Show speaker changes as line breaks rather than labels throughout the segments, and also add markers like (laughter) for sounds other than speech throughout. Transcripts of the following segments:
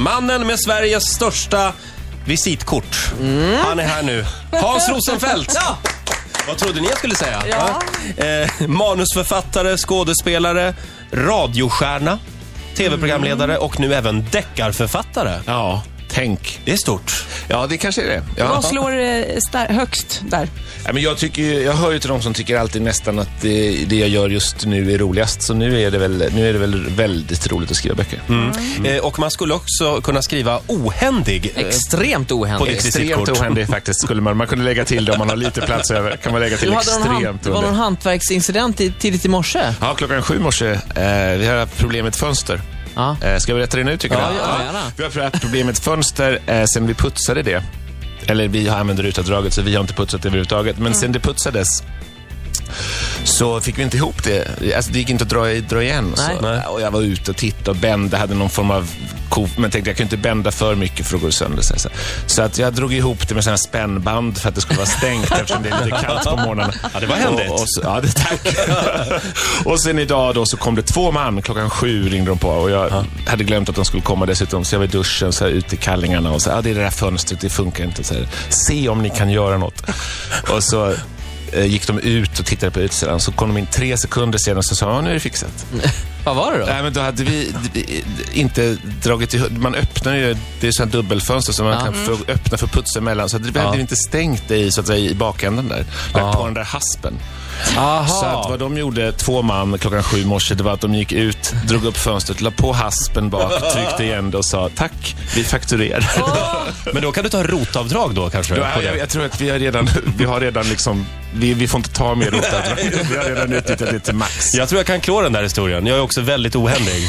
mannen med Sveriges största visitkort. Han är här nu. Hans Rosenfeldt!
Ja.
Vad trodde ni jag skulle säga?
Ja.
Va? Eh, manusförfattare, skådespelare, radiostjärna, tv-programledare och nu även deckarförfattare.
Ja, tänk.
Det är stort.
Ja, det kanske är det. Ja.
Vad slår eh, star- högst där?
Ja, men jag, tycker, ju- jag hör ju till de som tycker alltid nästan att det, det jag gör just nu är roligast. Så nu är det väl, nu är det väl väldigt roligt att skriva böcker.
Eh, och man skulle också kunna skriva ohändig. eh,
Extremt
På ditt
ohändigt.
visitkort.
Extremt ohändig faktiskt, skulle man. Man kunde lägga till det om man har lite plats över. Kan man lägga till
Du hade någon hand,
extremt
det var någon
ohändig.
hantverksincident i, tidigt i morse.
Ja, klockan sju i morse. Eh, vi har haft problem med ett fönster.
Ja.
Eh, ska vi rätta det nu tycker
Ja,
du?
ja, gärna.
Vi har haft problem med ett fönster eh, sen vi putsade det. Eller vi använder utdraget så vi har inte putsat det överhuvudtaget. Men
Mm.
sen det putsades så fick vi inte ihop det. Alltså, det gick inte att dra, i- dra igen. Så.
Nej.
Och jag var ute och tittade och bände, hade någon form av kov, men tänkte jag kan ju inte bända för mycket för då går det sönder. Så, så att jag drog ihop det med sådana här spännband för att det skulle vara
(laughs)
stängt eftersom det är lite kallt på morgonen.
Ja, det var händigt.
Och, och så, ja, det,
(laughs)
tack. och sen idag då så kom det två man. Klockan sju ringde de på och jag hade glömt att de skulle komma dessutom. Så jag var i duschen, så här, ute i kallingarna och så ja, det är det där fönstret, det funkar inte. Så här, Se om ni kan göra
(laughs)
något. Och så eh, gick de ut och tittade på utsidan. Så kom de in tre sekunder senare och så sa ja, nu är det fixat.
Vad var det då?
Nej, men då hade vi vi- inte dragit i, Man öppnar ju, det är sådana dubbelfönster som man
Ja. Mm.
kan få, öppna för puts emellan. Så att vi hade inte stängt det i, så att säga, i bakändan där. Lagt på den där haspen. Så att vad de gjorde, två man, klockan sju i morse, det var att de gick ut, drog upp fönstret, la på haspen bak, tryckte igen det och sa tack, vi fakturerar. (laughs)
Men då kan du ta rotavdrag då kanske?
Då,
på
jag,
det.
jag tror att vi har redan, vi har redan liksom, vi, vi får inte ta mer rotavdrag. Vi har redan utnyttjat det till max.
Jag tror jag kan klå den där historien. Jag är också väldigt ohändig.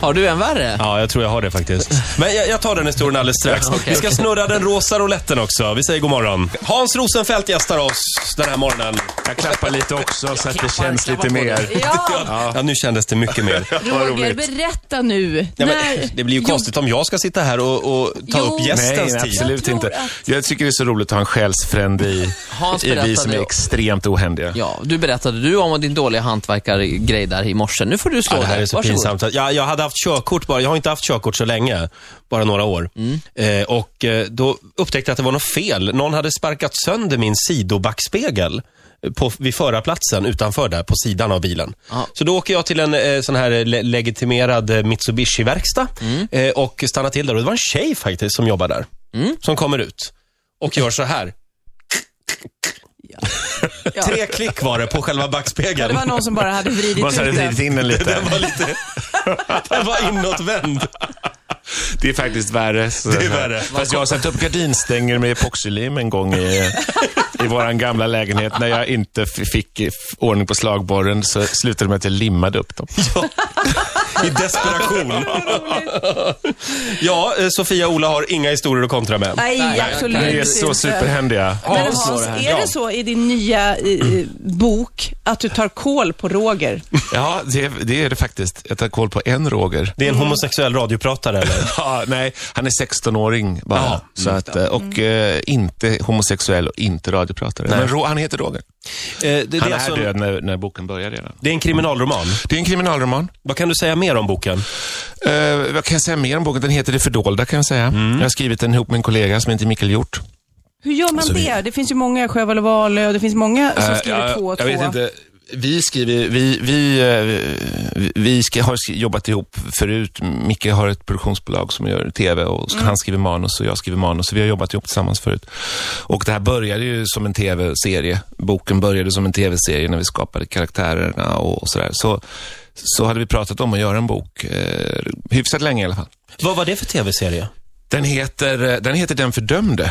Har du en värre?
Ja, jag tror jag har det faktiskt. Men jag, jag tar den historien alldeles (laughs) strax. Vi ska snurra den rosa rouletten också. Vi säger god morgon. Hans Rosenfeldt gästar oss den här morgonen.
Jag klappar lite också så att det
Klappar,
känns
klappar
lite
på
mer.
Ja,
Ja. nu kändes det mycket (laughs) mer.
Roger, berätta nu.
Ja, men,
När-
det blir ju konstigt om jag ska sitta här och, och ta
Jo.
upp
Nej,
gästens
nej,
tid.
absolut
Jag
inte.
tror att-
Jag tycker det är så roligt att ha en själsfrände i,
Hans
i vi som
berättade-
är extremt ohändiga.
Ja, du berättade du om din dåliga hantverkargrej där i morse. Nu får du slå
Ja, det här
dig.
är så
Varsågod.
pinsamt. Jag, jag hade haft körkort bara. Jag har inte haft körkort så länge. Bara några år. Eh, och eh, då upptäckte jag att det var något fel. Någon hade sparkat sönder min sidobackspegel. eh, På, vid förarplatsen utanför där, på sidan av bilen.
Ja.
Så då åker jag till en eh, sån här eh, le- legitimerad eh, Mitsubishi-verkstad eh, och stannar till där. Och det var en tjej faktiskt som jobbar där. Som kommer ut och gör så här.
Ja.
(laughs) Tre klick var det på själva backspegeln.
Det var någon som bara hade vridit
Man
ut
har vridit
den.
in den lite.
Den var lite... Den var inåtvänd.
Det är faktiskt värre. Så
Det är värre.
Fast jag har satt upp gardinstänger med epoxylim en gång i, i vår gamla lägenhet. När jag inte f- fick f- ordning på slagborren så slutade det med att jag limmade upp dem.
I (laughs) desperation. ja, eh, Sofia och Ola har inga historier att kontra med.
Nej, absolut
Ni är
inte.
så superhändiga.
Men
Ja, så
Hans,
det här.
är
Ja.
det så i din nya eh, bok att du tar koll på Roger?
Ja, det, det är det faktiskt. Jag tar koll på en Roger.
Det är en homosexuell radiopratare (laughs) eller?
(laughs) Ja, nej, han är 16-åring bara.
Ja, Mm.
så att, eh, och eh, inte homosexuell och inte radiopratare. Men Ro, han heter Roger.
Eh, det,
Han
det, är
är
alltså en,
död när, när boken börjar redan.
det är en kriminalroman.
Det är en kriminalroman.
Vad kan du säga mer om boken?
Eh, vad kan jag säga mer om boken? Den heter Det fördolda kan jag säga.
Mm.
Jag har skrivit den ihop med en kollega som heter Mikael Hjort.
Hur gör man det? Det finns ju många, Sjöwall och Wahlöö, det finns många som
Alltså, Eh,
skriver
jag,
två och två.
jag vet inte. Vi skriver, vi, vi, eh, vi- vi ska, har sk- jobbat ihop förut. Micke har ett produktionsbolag som gör TV och
Mm.
sk- han skriver manus och jag skriver manus. Så vi har jobbat ihop tillsammans förut. Och det här började ju som en TV-serie. Boken började som en TV-serie när vi skapade karaktärerna och sådär. Så, så hade vi pratat om att göra en bok, eh, hyfsat länge i alla fall.
Vad var det för tv-serie?
Den heter, eh, den heter Den fördömde,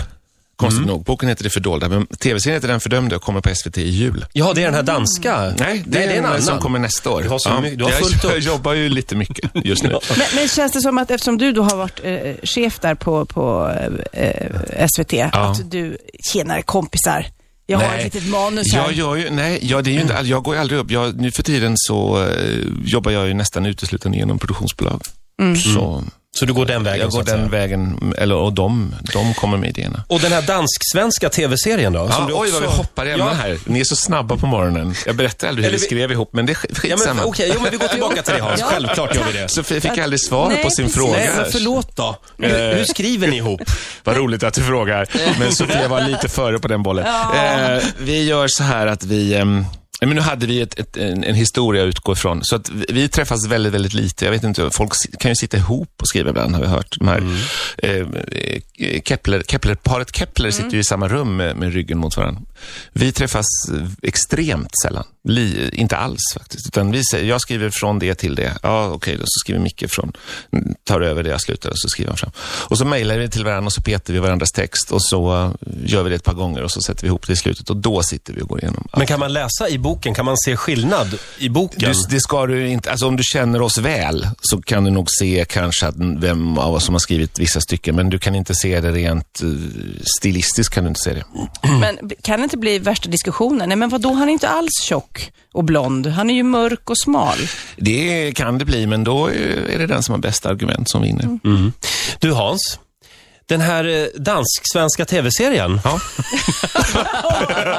konstigt
Mm.
nog. Boken heter Det fördolda, men tv-serien heter Den fördömde och kommer på SVT i jul.
Ja, det är den här danska.
Nej, det, är, en annan. som kommer nästa år.
Du har så mycket- du har
jag,
fullt upp.
(laughs) jag jobbar ju lite mycket just nu.
Men, men känns det som att eftersom du då har varit eh, chef där på, på eh, SVT, att du tjänar kompisar? Jag har ett litet manus här.
jag gör ju, nej, jag, det är ju inte, all- jag går ju aldrig upp. Jag,
Mm.
nu för tiden så eh, jobbar jag ju nästan uteslutande genom produktionsbolag. Så,
Så du går den vägen?
Jag
så
går
att säga.
den vägen, eller, och de, de kommer med idéerna.
Och den här dansk-svenska tv-serien då?
Ja,
du
oj, vad vi hoppar ämnen
Ja.
här. Ni är så snabba på morgonen. Jag berättar aldrig hur
Eller
vi
vi-
skrev ihop, men det är sk-
Ja, men,
skitsamma.
okej, ja, men vi går tillbaka till det Hans.
Ja.
Självklart gör vi det.
Sofie fick aldrig svar
Nej,
på sin
precis.
fråga. Eh.
Nej, men förlåt då. Hur, hur skriver ni ihop?
Vad roligt att du frågar, men Sofia var lite före på den bollen. Eh, vi gör så här att vi... ehm, men nu hade vi ett, ett, en, en historia att utgå ifrån, så att vi, vi träffas väldigt, väldigt lite. Jag vet inte, folk si- kan ju sitta ihop och skriva ibland, har vi hört. De här, eh, eh, Kepler, Kepler, paret Kepler sitter ju i samma rum eh, med, med ryggen mot varandra. Vi träffas eh, extremt sällan. Li, inte alls faktiskt. Utan vi säger, jag skriver från det till det. Ja, okej, då så skriver Micke från, tar över det jag slutar och så skriver han fram. Och så mejlar vi till varandra och så petar vi varandras text och så eh, gör vi det ett par gånger och så sätter vi ihop det i slutet och då sitter vi och går igenom.
Men kan man läsa i boken? Kan man se skillnad i boken?
Du, det ska du inte, alltså om du känner oss väl så kan du nog se kanske att vem av oss som har skrivit vissa stycken, men du kan inte se det rent eh, stilistiskt kan du inte se det. Mm.
Men b- kan det inte bli värsta diskussionen? Nej, men vadå, han är inte alls tjock och blond. Han är ju mörk och smal.
Det kan det bli, men då är det den som har bästa argument som vinner.
Du Hans, den här eh, dansk-svenska tv-serien.
Ja.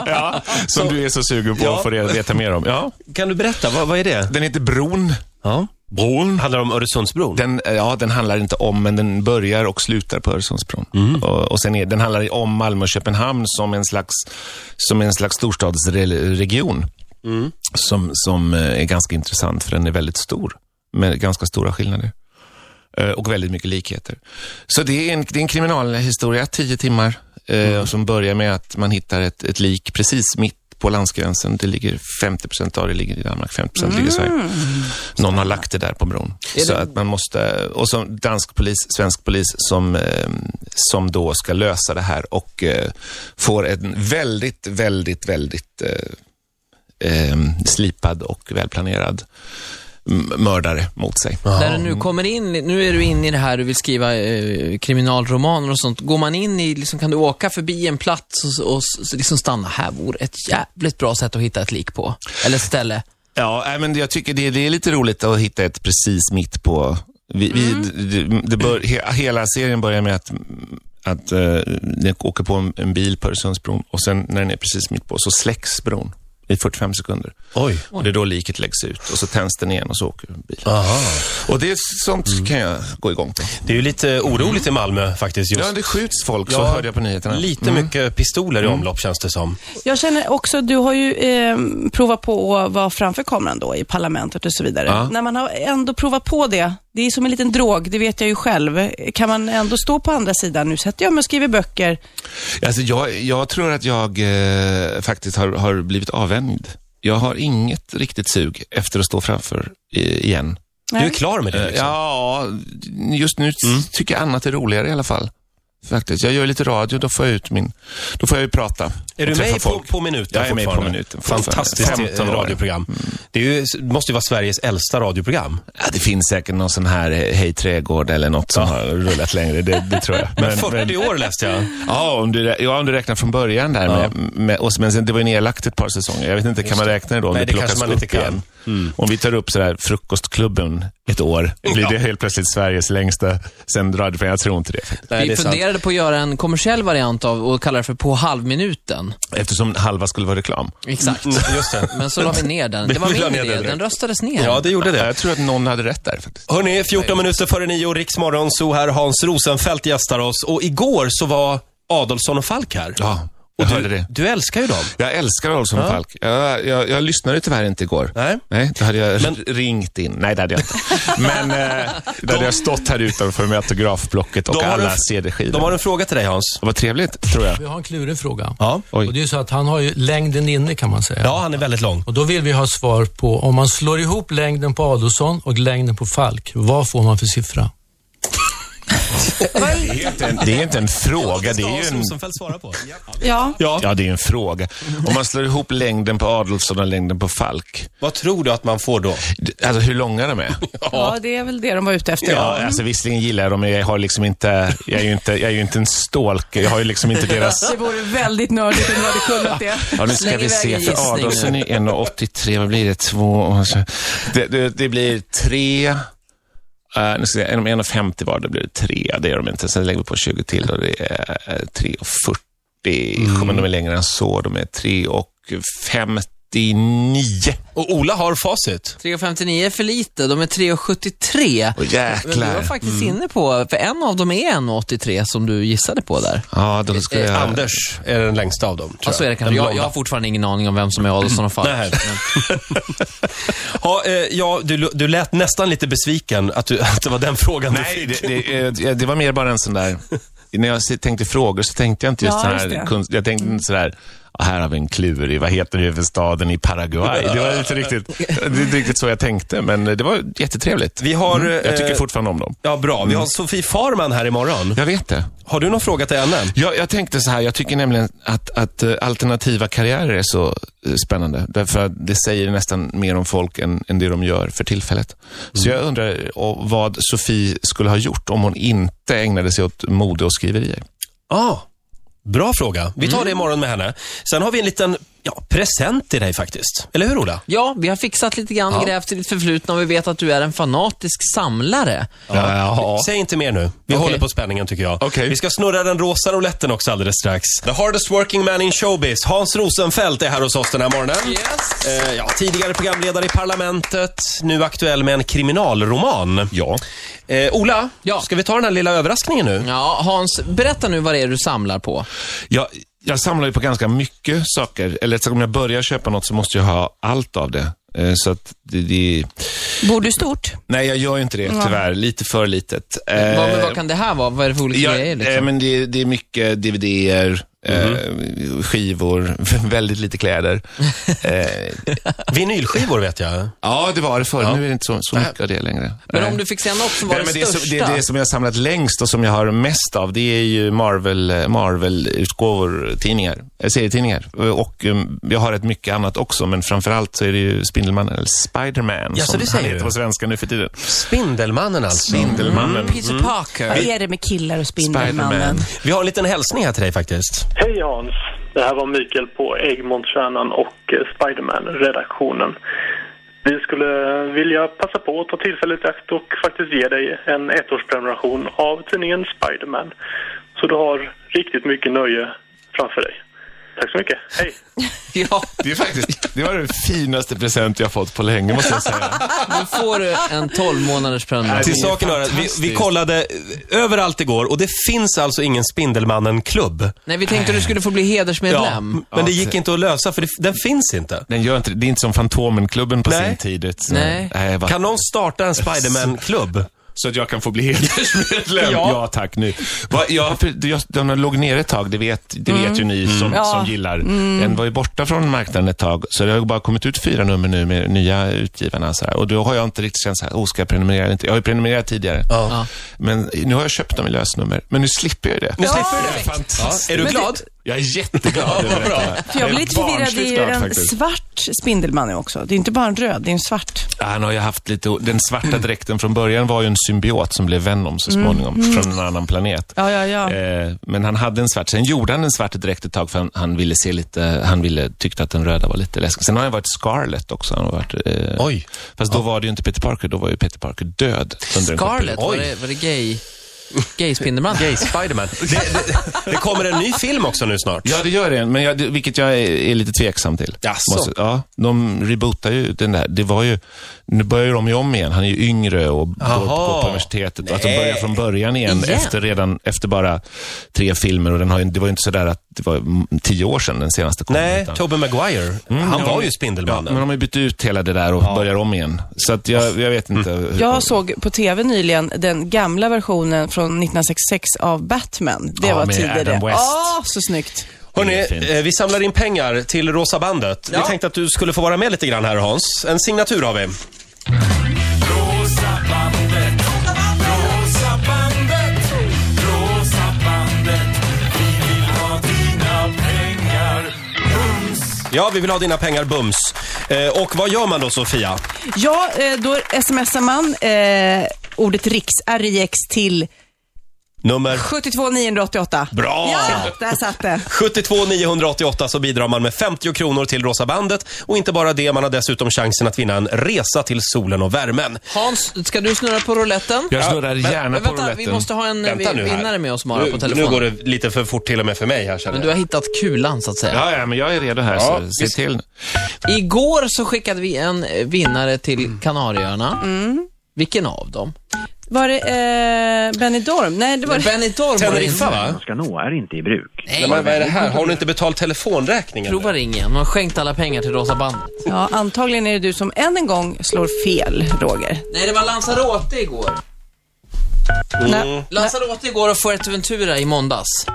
ja, som du är så sugen på
Ja.
att få reda- veta mer om. Ja.
Kan du berätta, vad, vad är det?
Den heter Bron.
Ja.
Bron?
Handlar om Öresundsbron?
Den, eh, ja, den handlar inte om, men den börjar och slutar på Öresundsbron. Och, och sen är, den handlar om Malmö och Köpenhamn som en slags, som en slags storstadsregion. Som, som eh, är ganska intressant, för den är väldigt stor. Med ganska stora skillnader. Eh, Och väldigt mycket likheter. Så det är en, det är en kriminalhistoria, tio timmar, eh, som börjar med att man hittar ett, ett lik precis mitt på landsgränsen. Det ligger 50 av det ligger i Danmark, 50 ligger i Sverige. Någon har lagt det där på bron. Så att man måste, och så dansk polis, svensk polis som, eh, som då ska lösa det här och eh, får en väldigt, väldigt, väldigt eh, eh, slipad och välplanerad m- mördare mot sig.
När du nu kommer in, nu är du inne i det här, du vill skriva eh, kriminalromaner och sånt. Går man in i, liksom, kan du åka förbi en plats och, och, s- liksom stanna, här vore ett jävligt bra sätt att hitta ett lik på. Eller ställe.
Ja, nej, men jag tycker det, det är lite roligt att hitta ett precis mitt på... Vi, vi,
Mm.
det, det bör, he, hela serien börjar med att, att eh, den åker på en, en bil på Öresundsbron och sen när den är precis mitt på så släcks bron i 45 sekunder.
Oj.
Och det är då liket läggs ut och så tänds den igen och så åker bilen.
Aha.
Och det är sånt
Mm.
kan jag gå igång på.
Det är ju lite oroligt i Malmö faktiskt just.
Ja, det skjuts folk, så
Ja,
hörde jag på nyheterna.
Lite mycket pistoler
Mm.
i omlopp känns det som.
Jag känner också, du har ju eh, provat på att vara framför kameran då i parlamentet och så vidare.
Ja.
När man har ändå provat på det, det är som en liten drog, det vet jag ju själv. Kan man ändå stå på andra sidan? Nu sätter jag mig och skriver böcker.
Alltså jag, jag tror att jag eh, faktiskt har, har blivit avvänd. Jag har inget riktigt sug efter att stå framför eh, igen.
Du är
Nej.
klar med det
Eh,
liksom.
Ja, just nu tycker jag annat är roligare i alla fall. Faktiskt. Jag gör lite radio, då får jag ut min... Då får jag ju prata.
Är
och
du
träffa
med på,
folk.
på minuten
Jag är med på
fortfarande?
minuten fortfarande.
Fantastiskt eh,
15 år.
radioprogram.
Mm.
Det är ju, måste ju vara Sveriges äldsta radioprogram.
Ja, det finns säkert någon sån här eh, Hej trädgård eller något som har rullat längre. Det, det (laughs) tror jag.
Men 40 år läste jag.
Ja, om du, rä- ja, om du räknar från början där. Med, med, och, men sen, det var ju nedlagt ett par säsonger. Jag vet inte, kan man Mm. räkna det då? Om
Nej, det
plockas
kanske man
upp
inte kan.
Om vi tar upp sådär frukostklubben ett år, blir det helt plötsligt Sveriges längsta sen radioprogram. Jag tror inte det. faktiskt.
Nej, det är
Vi
sant.
funderade på att göra en kommersiell variant av och kalla det för På halvminuten.
Eftersom halva skulle vara reklam.
Exakt.
Mm, Just det.
Men så la vi ner
(laughs)
den. Det var
Vi la
min
ner den
idé. Den
direkt.
röstades ner.
Ja, det gjorde det.
Jag tror att någon hade rätt där faktiskt.
Hörni, 14 minuter före nio, Riksmorgon, så här Hans Rosenfeldt gästar oss. Och igår så var Adolfsson och Falk här.
Ja, jag
och
hörde
du,
det.
du älskar ju dem.
Jag älskar Olsson och Falk. Jag, jag, jag lyssnade tyvärr inte igår.
Nej.
Nej, då hade jag r- ringt in. Nej, det hade jag inte. Men eh, då hade jag stått här utanför med autografblocket och
De har
alla
en-
CD-skivor.
De har en fråga till dig Hans.
Vad trevligt, tror jag.
Vi har en klurig fråga.
Ja.
Oj.
Och det är ju så att han har ju längden inne kan man säga.
Ja, han är väldigt lång.
Och då vill vi ha svar på, om man slår ihop längden på Adolfsson och längden på Falk, vad får man för siffra?
Det är, inte en, det är inte en fråga, det är ju
Hans
en...
Rosenfeldt
(laughs)
svarar på.
Ja.
Ja.
Ja, det är ju en fråga. Om man slår ihop längden på Adolfsson och längden på Falk,
Vad tror du att man får då?
d- alltså hur långa de är. (laughs)
ja, det är väl det de var ute efter.
Ja, alltså visserligen gillar jag dem, men jag har liksom inte, jag är ju inte, jag är ju inte en stalker. Jag har ju liksom (laughs) inte deras...
Det vore väldigt nördigt om du hade
(laughs)
kunnat det.
Ja, nu ska
Släng
vi
iväg
se,
en
för
gissning
Adolfsson är 1,83, vad blir det? Två och så. Det, det, det blir tre, Eh, nu ska jag, säga, om 1,50 var det blir det 3. Det gör de inte. Sen lägger vi på 20 till och det är eh, 3,40. Kommer de är längre än så. De är 3,59.
Och Ola har facit.
3,59 är för lite, de är 3,73.
Åh,
Men du var
jäklar.
faktiskt
Mm.
inne på, för en av dem är 1,83 som du gissade på där.
Ja, då ska jag...
Anders är den längsta av dem. tror
Ja, så är det
Den
kanske. Jag,
blonda.
jag har fortfarande ingen aning om vem som är Adolfsson och Falk.
(laughs) Nej. Ja, eh, ja du, du lät nästan lite besviken att, du, att det var den frågan du
Nej, det, det, eh, det var mer bara en sån där... När jag se- tänkte frågor så tänkte jag inte just
Ja,
sån
just det.
här kunst... Jag tänkte inte sådär, "Ah, här har vi en klurig, vad heter huvudstaden i Paraguay? Det var inte riktigt, det är inte riktigt så jag tänkte, men det var jättetrevligt.
Vi har,
Mm. Jag tycker
eh,
fortfarande om dem.
Ja, bra. Vi har
Mm.
Sofie Farman här imorgon.
Jag vet det.
Har du någon fråga till henne?
Jag, jag tänkte så här, jag tycker nämligen att, att eh, alternativa karriärer är så eh, spännande. Därför att det säger nästan mer om folk än, än det de gör för tillfället. Så
Mm.
jag undrar eh, och vad Sofie skulle ha gjort om hon inte ägnade sig åt mode och skriverier.
Ja. Ah, Bra fråga. Vi tar det
Mm.
imorgon med henne. Sen har vi en liten ja, present till dig faktiskt. Eller hur Ola?
Ja, vi har fixat lite grann, grävt i ditt förflutna och vi vet att du är en fanatisk samlare.
Jaha.
Säg inte mer nu. Vi håller på spänningen tycker jag.
Okej.
Vi ska snurra den rosa rouletten också alldeles strax. The hardest working man in showbiz, Hans Rosenfeldt är här hos oss den här morgonen.
Yes.
Eh, ja, tidigare programledare i Parlamentet, nu aktuell med en kriminalroman.
Ja.
Eh, Ola,
Ja.
ska vi ta den här lilla överraskningen nu?
Ja, Hans, berätta nu vad det är du samlar på.
Jag, jag samlar ju på ganska mycket saker. Eller så om jag börjar köpa något så måste jag ha allt av det. Eh, Så att det, det...
Bor du stort?
Nej, jag gör ju inte det tyvärr. Lite för litet.
vad, men
Eh,
vad kan det här vara? Vad är det för olika
Ja,
grejer? Liksom?
eh, men det, det är mycket DVD-er,
Mhm.
eh, skivor, (laughs) väldigt lite
(laughs)
kläder. eh,
Vinylskivor vet jag.
ja, det var det förr. Nu är det inte så, så mycket av det längre.
men
Nej.
om du fick säga något som var
eh, Nej,
det
men det, är
största?
så, det, det som jag har samlat längst och som jag har mest av, det är ju Marvel, Marvel-utgåvor, tidningar, eh, serietidningar. Och um, jag har rätt mycket annat också, men framförallt så är det ju Spindelmannen, eller Spiderman,
Ja, så
som
det
han
säger
heter
du.
på svenska nu för tiden.
Spindelmannen alltså.
Spindelmannen.
Peter Parker.
Vad är det med killar och Spindelmannen?
Spiderman.
Vi har en liten hälsning här till dig faktiskt.
Hej Hans! Det här var Mikael på Äggmånsstjärnan och eh, Spiderman-redaktionen. Vi skulle vilja passa på att ta tillfället i akt och faktiskt ge dig en ettårsprenumeration av tidningen Spiderman. Så du har riktigt mycket nöje framför dig. Tack så mycket. Hej!
Ja, (laughs)
Det är faktiskt, det var den finaste present jag fått på länge, måste jag säga.
nu får du en 12 månaders
Nej,
prenumeration.
Till saken hör att vi, vi
fantastiskt.
kollade överallt igår och det finns alltså ingen Spindelmannen-klubb.
Nej, vi tänkte du skulle få bli hedersmedlem.
men det
Ja,
gick inte att lösa för det, den finns inte.
Den gör inte det. Det är inte som Fantomenklubben på
Nej.
sin tid. Ett- eh,
Nej.
Nej vad-
Kan någon starta en Spiderman-klubb?
Så att jag kan få bli (laughs) hedersmedlem.
Ja.
ja. tack nu. Va, ja, för, jag, den låg nere ett tag, det vet, det vet ju ni som,
Mm. Ja. Mm.
som gillar. Den var ju borta från marknaden ett tag, så det har ju bara kommit ut fyra nummer nu med nya utgivarna. Så här. Och då har jag inte riktigt känt så här, oh, ska jag prenumerera eller inte? Jag har ju prenumererat tidigare.
Ja.
Men nu har jag köpt dem i lösnummer, men nu slipper jag ju det.
Nu slipper du det.
Fantastiskt.
Är du glad?
Jag är jätteglad över detta.
För jag blir
är
lite förvirrad. Det är
barnsligt
ju
glad,
en
faktiskt.
svart Spindelmannen också. Det är inte bara en röd, det är en svart.
Ja, Han har ju haft lite, den svarta dräkten från början var ju en symbiot som blev Venom så småningom, från en annan planet.
Mm. Ja, ja, ja.
Eh, men han hade en svart, sen gjorde han en svart dräkt ett tag för han, han ville se lite, han ville, tyckte att den röda var lite läskig. Sen har han varit Scarlet också. Han har varit, eh,
Oj.
Fast då var det ju inte Peter Parker, då var ju Peter Parker död. under en kort
Scarlett,
period.
var det, var det gay? Gay Spindelman?
Gay
(laughs)
Spiderman. Det, det, det kommer en ny film också nu snart.
Ja, det gör det, men jag, det- vilket jag är, är lite tveksam till.
Jaså?
ja, de rebootar ju den där. Det var ju, nu börjar ju de ju om igen. Han är ju yngre och går på,
Jaha.
går på universitetet. Att de börjar från början igen,
Igen?
Efter, redan, efter bara tre filmer. Och den har ju, det var ju inte sådär att det var mm, tio år sedan den senaste kom.
Nej,
utan-
Tobey Maguire. Han
Mm, ja,
var ju
men- Ja, men
Spindelmannen.
de har ju bytt ut hela det där och börjar om igen. Så att jag, jag vet inte. hur-
Jag såg på tv nyligen den gamla versionen från 1966 av Batman. Det
Ja,
var
med
tidigare.
Adam West.
Åh, så snyggt.
Hörrni,
Det är fint.
eh, vi samlar in pengar till Rosa bandet. Vi tänkte att du skulle få vara med lite grann här Hans. En signatur har vi.
Rosa bandet, rosa bandet, rosa bandet. Vi vill ha dina pengar. Bums!
Ja, vi vill ha dina pengar bums. Eh, och vad gör man då Sofia?
Ja, eh, då smsar man eh, ordet riks, RIX till
Nummer
72 988.
Bra!
Ja, där satt det.
72 988 så bidrar man med 50 kronor till Rosa bandet. Och inte bara det, man har dessutom chansen att vinna en resa till solen och värmen.
Hans, ska du snurra på rouletten?
Jag snurrar gärna
Men
på
vänta,
rouletten.
vi måste ha en eh,
Vänta
vi-
nu här.
vinnare med oss Mara
nu,
på
nu går
telefon.
det lite för fort till och med för mig här känner
Men du
jag.
har hittat kulan så att säga.
Ja, ja, men jag är redo här,
Ja,
så se
visst.
till.
Igår så skickade vi en eh, vinnare
Mm.
till Kanarieöarna.
Mm.
Vilken av dem?
Var det eh, Benidorm? Nej, det var det.
Benidorm var det inte.
Teneriffa va?
ska nå är inte i bruk.
Nej, men vad är det här? Har hon inte betalt telefonräkningen?
Prova ring igen. Hon har skänkt alla pengar till Rosa bandet.
Ja, antagligen är det du som än en gång slår fel, Roger.
Nej, det var Lanzarote igår.
Nej,
Lanzarote igår och Fuerteventura i måndags.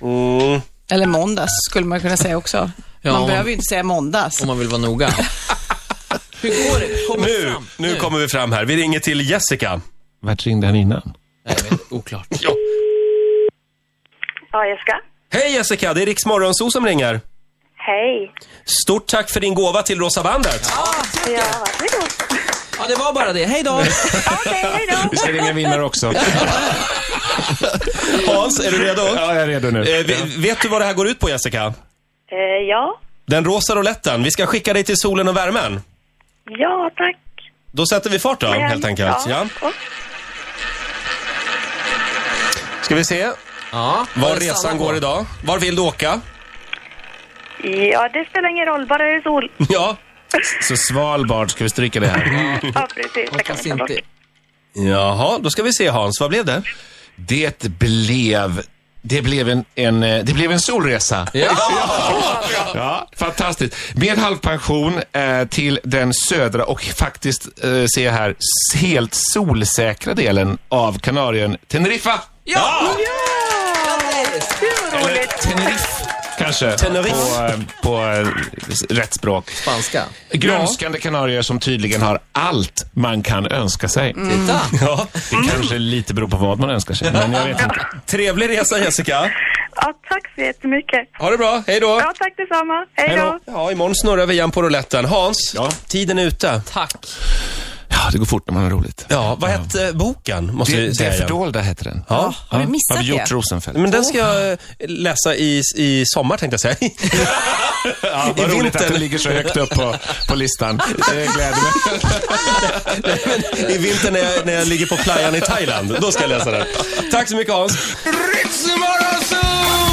Mm.
eller måndags skulle man kunna säga också.
Ja,
man
om-
behöver ju inte säga måndags.
Om man vill vara noga. (laughs) Hur går det? Kommer
Nu,
fram?
nu kommer vi fram här. Vi ringer till Jessica.
Vart ringde han innan?
Nej, men, oklart.
Ja.
Ja, Jessica.
Hej Jessica, det är Riks Morgonzoo som ringer.
Hej.
Stort tack för din gåva till Rosa bandet.
Ja, varsågod.
Ja, det var bara det. Hej då!
Okej, hej då.
Vi ska ringa vinnare också.
Hans, är du redo?
(laughs) Ja, jag är redo nu.
Eh, vi- vet du vad det här går ut på Jessica?
Eh, ja.
Den rosa rouletten. Vi ska skicka dig till solen och värmen.
ja, tack.
Då sätter vi fart då,
Men-
helt enkelt. Ja.
Och,
Ska vi se
Ja,
var
det
resan
stannar på?
går idag. Var vill du åka? (laughs)
ja, det spelar ingen roll, bara det
(laughs)
är sol.
Ja.
Så Svalbard, ska vi stryka det här?
Ja, precis. Det kan
Hoppas
vi ta bort.
inte.
Jaha, då ska vi se Hans. Vad blev det?
Det blev... Det blev en, en, eh, det blev en solresa. Ja, fantastiskt. Med halvpension eh, till den södra och faktiskt, eh, ser jag här, s- helt solsäkra delen av Kanarien Teneriffa.
Ja!
Eller Teneriff, kanske.
Teneriff.
På, eh, på eh, s- rätt språk.
Spanska.
Grönskande kanarier som tydligen har allt man kan önska sig.
Titta!
(laughs) Ja.
Det kanske lite beror på vad man önskar sig, men jag vet inte.
Trevlig resa Jessica.
Ja, tack så jättemycket.
Ha det bra, hej då.
Ja, tack detsamma. Hej då.
Ja, imorgon snurrar vi igen på rouletten. Hans,
Ja.
tiden är ute.
Tack.
Ja, det går fort när man har roligt.
Ja, vad hette boken? Måste vi
Det,
säga
det
igen.
fördolda heter den.
Ja.
Har vi missat
Av
det?
Hjort Rosenfeldt.
Men den ska jag eh, läsa i, i sommar tänkte jag (laughs) säga.
Ja,
I
vad roligt
vintern.
att den ligger så högt upp på, på (laughs) listan. Det gläder mig.
I vinter när jag, när jag ligger på playan i Thailand. Då ska jag läsa den. Tack så mycket Hans.
Ritzmorgonzoo!